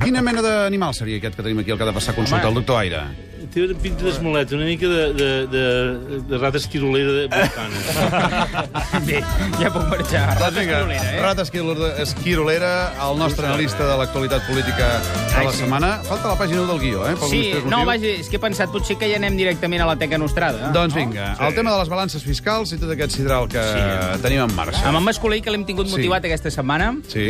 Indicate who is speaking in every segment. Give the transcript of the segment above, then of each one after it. Speaker 1: Quina mena d'animal seria aquest que tenim aquí, el que ha de passar a consulta, el doctor Aire?
Speaker 2: Té una pinta d'esmolet, una mica de, de, de, de rata esquirolera de volcana.
Speaker 3: Bé, ja puc marxar.
Speaker 1: Doncs vinga,
Speaker 3: eh?
Speaker 1: rata esquirolera- esquirolera, el nostre analista de l'actualitat política de
Speaker 3: Ai,
Speaker 1: la
Speaker 3: sí.
Speaker 1: setmana. Falta la pàgina 1 del guió, eh? per algun
Speaker 3: Sí,
Speaker 1: misteriós
Speaker 3: no,
Speaker 1: motiu.
Speaker 3: vaja, és que he pensat, potser que ja anem directament a la teca nostrada.
Speaker 1: Doncs vinga, el tema de les balances fiscals i tot aquest sidral que tenim en marxa.
Speaker 3: Amb en Mascolell, que l'hem tingut
Speaker 1: Sí.
Speaker 3: motivat aquesta setmana,
Speaker 1: Sí?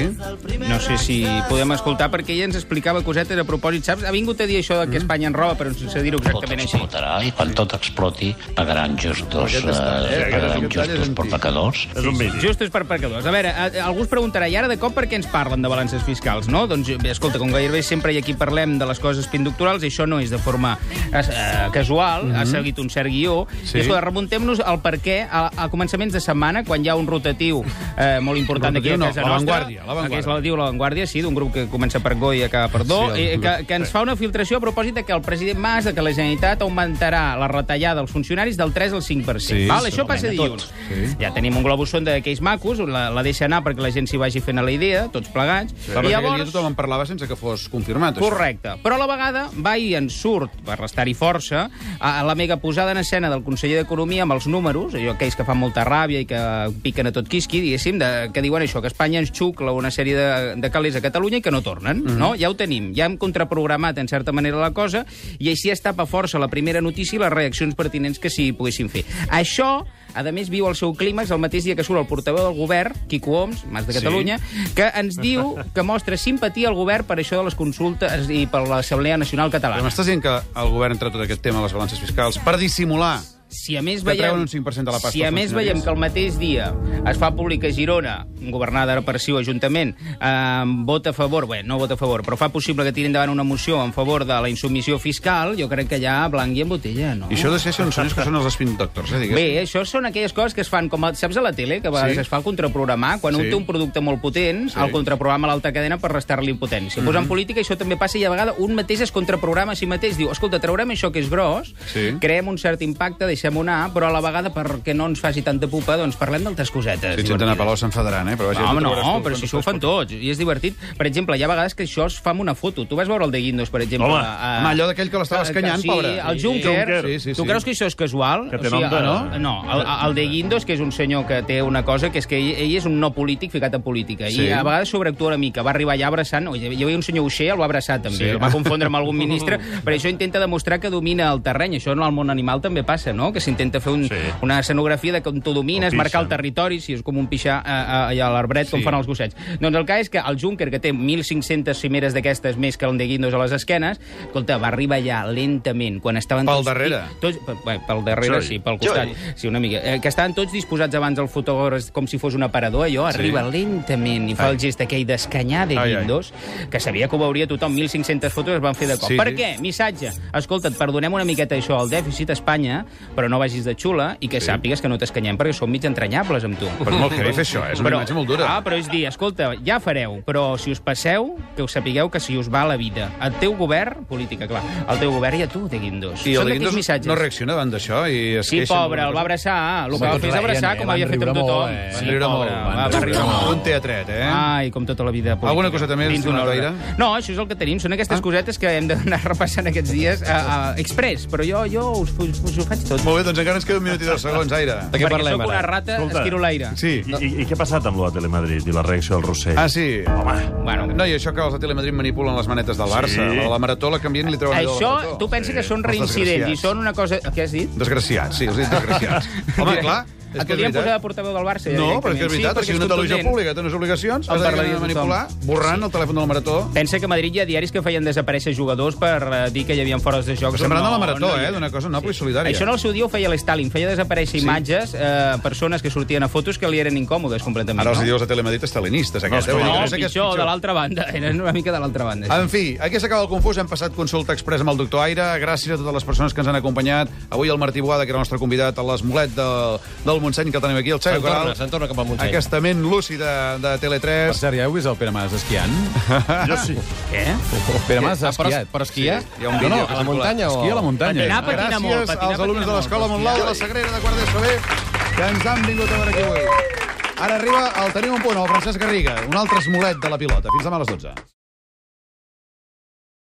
Speaker 3: no sé si podem escoltar, perquè ella ens explicava cosetes a propòsit, saps? Ha vingut a dir això de que Espanya ens roba, però sense dir-ho
Speaker 4: tot
Speaker 3: exactament així.
Speaker 4: explotarà i quan tot exploti pagaran justos,
Speaker 1: Aquest està bé,
Speaker 4: eh,
Speaker 1: aquest-
Speaker 4: pagaran
Speaker 1: aquest tall és
Speaker 4: justos per
Speaker 1: antic.
Speaker 4: pecadors.
Speaker 5: És un vídeo.
Speaker 3: Justos per pecadors. A veure, a- algú es preguntarà, i ara de cop per què ens parlen de balances fiscals, no? Doncs, bé, escolta, com gairebé sempre i aquí parlem de les coses pinducturals, i això no és de forma eh, casual, ha seguit un cert guió,
Speaker 1: Mhm. Sí.
Speaker 3: sí. i escolta, remuntem-nos al per què a, a començaments de setmana, quan hi ha un rotatiu eh, molt important d'aquí a
Speaker 1: Rotatiu no,
Speaker 3: casa
Speaker 1: La
Speaker 3: nostra...
Speaker 1: Vanguardia, La Vanguardia.
Speaker 3: Que és la, diu La Vanguardia, sí, d'un grup que comença per Go i acaba per Do,
Speaker 1: Sí,
Speaker 3: sí,
Speaker 1: el-
Speaker 3: eh, que, que ens fa una filtració a propòsit de que el president Mas, de que la Generalitat augmentarà la retallada als funcionaris del 3 al 5%.
Speaker 1: Sí,
Speaker 3: Sí, val? Això
Speaker 1: segurament,
Speaker 3: passa
Speaker 1: a
Speaker 3: dilluns.
Speaker 1: Sí.
Speaker 3: Sí. Ja tenim un globus sonda d'aquells macos, la, la deixa anar perquè la gent s'hi vagi fent a la idea, tots plegats.
Speaker 1: Clar, perquè aquell dia tothom en parlava sense que fos confirmat. això.
Speaker 3: Correcte. Però a la vegada va i en surt, per restar-hi força, a a la mega posada en escena del conseller d'Economia amb els números, allò, aquells que fan molta ràbia i que piquen a tot quisqui, diguéssim, de, que diuen això, que Espanya ens xucla una sèrie de, de calés a Catalunya i que no tornen, mm -hmm. no? Ja ho tenim, ja hem contraprogramat en certa manera la cosa i així es tapa força la primera notícia i les reaccions pertinents que s'hi poguessin fer. Això a més, viu el seu clímax el mateix dia que surt el portaveu del govern, Quico Oms, Mas de Catalunya, que ens diu que mostra simpatia al govern per això de les consultes i per l'Assemblea Nacional
Speaker 1: Però
Speaker 3: Catalana.
Speaker 1: m'estàs dient que el govern entra tot aquest tema de les balances fiscals per dissimular
Speaker 3: Si a més
Speaker 1: Que
Speaker 3: veiem,
Speaker 1: treuen un 5% de la pasta
Speaker 3: si a
Speaker 1: als
Speaker 3: més veiem
Speaker 1: funcionaris.
Speaker 3: que el mateix dia es fa públic a Girona, governada ara per Ciu Ajuntament, eh, vota a favor, bé, no vota a favor, però fa possible que tiri endavant una moció en favor de la insubmissió fiscal, jo crec que ja blanc i en botella, no?
Speaker 1: I això de ser són sons que són els spin doctors, eh, diguéssim.
Speaker 3: Bé, això són aquelles coses que es fan, com a, saps a la tele, que a vegades
Speaker 1: Sí.
Speaker 3: sí. es fa el contraprogramar, quan sí.
Speaker 1: Sí.
Speaker 3: un té un producte molt potent,
Speaker 1: Sí. Mhm.
Speaker 3: sí. el contraprograma a l'alta cadena per restar-li impotència. Mm -hmm. Pues en política això també passa i a vegades un mateix es contraprograma a si mateix, diu, escolta, traurem això que és gros,
Speaker 1: Sí.
Speaker 3: sí. creem un cert impacte, deixem anar, però a la vegada perquè no ens faci tanta pupa, doncs parlem d'altres cosetes.
Speaker 1: Si ets Antena
Speaker 3: divertides.
Speaker 1: Palau s'enfadaran, eh? Però vaja,
Speaker 3: No, home,
Speaker 1: tu trobaràs
Speaker 3: no,
Speaker 1: tu
Speaker 3: però
Speaker 1: quan
Speaker 3: si
Speaker 1: tu
Speaker 3: això ho
Speaker 1: fas
Speaker 3: fan tots, i és divertit. Per exemple, hi ha vegades que això es fa amb una foto. Tu vas veure el de Guindos, per exemple.
Speaker 5: Home,
Speaker 3: a-
Speaker 1: Home, allò d'aquell que l'estava
Speaker 3: a-
Speaker 1: escanyant,
Speaker 3: sí,
Speaker 1: pobre.
Speaker 3: El
Speaker 1: Sí,
Speaker 3: Juncker.
Speaker 1: Juncker. Sí, sí,
Speaker 3: Tu
Speaker 1: sí.
Speaker 3: creus que això és casual? ah,
Speaker 5: Que té nom de-
Speaker 3: no, no el, el de Guindos, que és un senyor que té una cosa, que és que ell, ell és un no polític ficat a política,
Speaker 1: Sí.
Speaker 3: i a vegades sobreactua una mica. Va arribar allà abraçant... Oi, hi havia un senyor Uixer, el va abraçar també,
Speaker 1: Sí.
Speaker 3: el va confondre amb algun ministre, però això intenta demostrar que domina el terreny. Això en el món animal també passa, no? Que s'intenta fer un,
Speaker 5: Sí.
Speaker 3: una escenografia de com tu domines,
Speaker 5: O
Speaker 3: marcar el
Speaker 5: pixen.
Speaker 3: territori, si és com un pixar a, a, a l'arbret, com
Speaker 1: Sí.
Speaker 3: fan els gossets. Doncs el cas és que el Juncker, que té 1.500 cimeres d'aquestes més que el de Guindos a les esquenes, escolta, va arribar ja lentament, quan estaven...
Speaker 1: Pel
Speaker 3: tots-
Speaker 1: darrere.
Speaker 3: Tots, pe- bé, pel darrere,
Speaker 5: Joy.
Speaker 3: sí, pel costat. Sí, una mica. Eh, que estaven tots disposats abans al fotògraf com si fos un aparador, allò,
Speaker 1: Sí.
Speaker 3: arriba lentament i fa el gest aquell d'escanyar de
Speaker 1: Ai, ai.
Speaker 3: Guindos, que sabia que ho veuria tothom, 1.500 fotos es van fer de cop.
Speaker 1: Sí.
Speaker 3: Sí. Per què? Missatge. Escolta, et perdonem una miqueta això, el dèficit a Espanya, però no vagis de xula i que
Speaker 1: Sí.
Speaker 3: sí. sàpigues que no t'escanyem perquè som mig entranyables amb tu.
Speaker 1: Però és molt heavy fer això, eh? és una
Speaker 3: Però-
Speaker 1: imatge molt dura.
Speaker 3: Ah, però és dir, escolta, ja fareu, però si us passeu, que us sapigueu que si us va la vida. El teu govern, política, clar, el teu govern i a tu, de Guindos.
Speaker 1: I
Speaker 3: Són
Speaker 1: el
Speaker 3: d'aquells
Speaker 1: Guindos
Speaker 3: missatges.
Speaker 1: no reacciona davant d'això i es
Speaker 3: Sí,
Speaker 1: queixa
Speaker 3: pobre,
Speaker 1: molt. eh?
Speaker 3: el va abraçar. El que va
Speaker 6: Van
Speaker 3: fer és
Speaker 6: riure,
Speaker 3: abraçar,
Speaker 6: eh?
Speaker 3: com
Speaker 6: Van
Speaker 3: havia fet amb
Speaker 6: riure molt,
Speaker 3: tothom.
Speaker 6: eh?
Speaker 1: Van
Speaker 3: Sí,
Speaker 1: riure molt,
Speaker 3: pobre, va,
Speaker 1: van
Speaker 3: va
Speaker 1: riure
Speaker 3: riure
Speaker 1: molt.
Speaker 3: molt.
Speaker 1: Un teatret, eh?
Speaker 3: Ai, com tota la vida política.
Speaker 1: Alguna coseta més,
Speaker 3: Dins d'una
Speaker 1: senyor
Speaker 3: hora.
Speaker 1: Pereira?
Speaker 3: No, això és el que tenim. Són aquestes
Speaker 1: Ah.
Speaker 3: cosetes que hem d'anar repassant aquests dies a, a Express. Però jo, jo us, us, us ho faig tot.
Speaker 1: Molt bé, doncs encara ens queda un minut i dos segons, Aire.
Speaker 6: De què
Speaker 3: perquè
Speaker 6: parlem,
Speaker 3: sóc
Speaker 6: ara?
Speaker 3: una rata
Speaker 5: Escolta.
Speaker 3: esquirolaire.
Speaker 1: Sí.
Speaker 5: I, i, I què ha passat amb lo de Telemadrid i la reacció del Rossell?
Speaker 1: Ah, sí.
Speaker 5: Home,
Speaker 3: Bueno,
Speaker 1: No, i això que els de Telemadrid manipulen les manetes del Barça.
Speaker 5: Sí.
Speaker 1: La, la marató la canvien i li treuen allò de la
Speaker 3: això,
Speaker 1: marató.
Speaker 3: tu pensa que són
Speaker 1: Els
Speaker 3: reincidents i
Speaker 1: desgraciats.
Speaker 3: són una cosa... Què has dit?
Speaker 1: Desgraciats, sí, els dic desgraciats. Home, clar, és
Speaker 3: Et
Speaker 1: que és
Speaker 3: podríem posar de
Speaker 1: veritat.
Speaker 3: portaveu del Barça. ja,
Speaker 1: No, però és que és
Speaker 3: directament.
Speaker 1: veritat, o
Speaker 3: perquè
Speaker 1: sigui, una
Speaker 3: és
Speaker 1: televisió
Speaker 3: contundent.
Speaker 1: pública té unes obligacions,
Speaker 3: En
Speaker 1: has de
Speaker 3: parlaria tothom.
Speaker 1: manipular, borrant el telèfon de la marató.
Speaker 3: Pensa que a Madrid hi ha diaris que feien desaparèixer jugadors per eh, dir que hi havia fora de joc.
Speaker 1: Però semblant
Speaker 3: no,
Speaker 1: a la marató,
Speaker 3: hi
Speaker 1: eh,
Speaker 3: eren.
Speaker 1: d'una cosa noble i solidària.
Speaker 3: Això en el seu dia ho feia l'Stalin, feia desaparèixer
Speaker 1: Sí.
Speaker 3: sí. imatges, eh, persones que sortien a fotos que li eren incòmodes completament.
Speaker 1: Ara els
Speaker 3: no?
Speaker 1: dius a Telemadrid estalinistes,
Speaker 5: No,
Speaker 1: aquest. eh? Vull dir,
Speaker 3: No,
Speaker 1: crec
Speaker 3: pitjor,
Speaker 1: que és
Speaker 3: pitjor, de l'altra banda. Eren una mica de l'altra banda.
Speaker 1: En fi, aquí s'acaba el confús. Hem passat consulta express amb el doctor Aire. Gràcies a totes les persones que ens han acompanyat. Avui el Martí Boada, que era el nostre convidat, a l'esmolet de, del Montseny, que el tenim aquí, el Xavi
Speaker 6: Se'n
Speaker 1: Coral.
Speaker 6: torna, se'n torna cap al Montseny.
Speaker 1: Aquesta ment lúcida de
Speaker 6: Per
Speaker 1: Tele3.
Speaker 6: cert, ja heu vist el Pere Mas esquiant? Eh?
Speaker 5: jo sí.
Speaker 3: Què?
Speaker 6: Pere Mas ha
Speaker 3: Ah, però-
Speaker 6: esquiat. Però esquia?
Speaker 1: Sí, hi ha un
Speaker 6: no, no,
Speaker 1: vídeo que
Speaker 6: a la
Speaker 1: circula.
Speaker 6: muntanya o...?
Speaker 1: Esquia a la
Speaker 6: muntanya.
Speaker 3: Patinar,
Speaker 6: Gràcies.
Speaker 3: patinar molt,
Speaker 1: Gràcies
Speaker 3: patinar,
Speaker 1: als alumnes
Speaker 3: patinar
Speaker 1: de l'Escola
Speaker 3: molt.
Speaker 1: Montlau de la Sagrera de Quart d'ESO B que ens han vingut a veure aquí avui. Ara arriba el Tenim un punt, el Francesc Garriga, un altre esmolet de la pilota. Fins demà a les 12.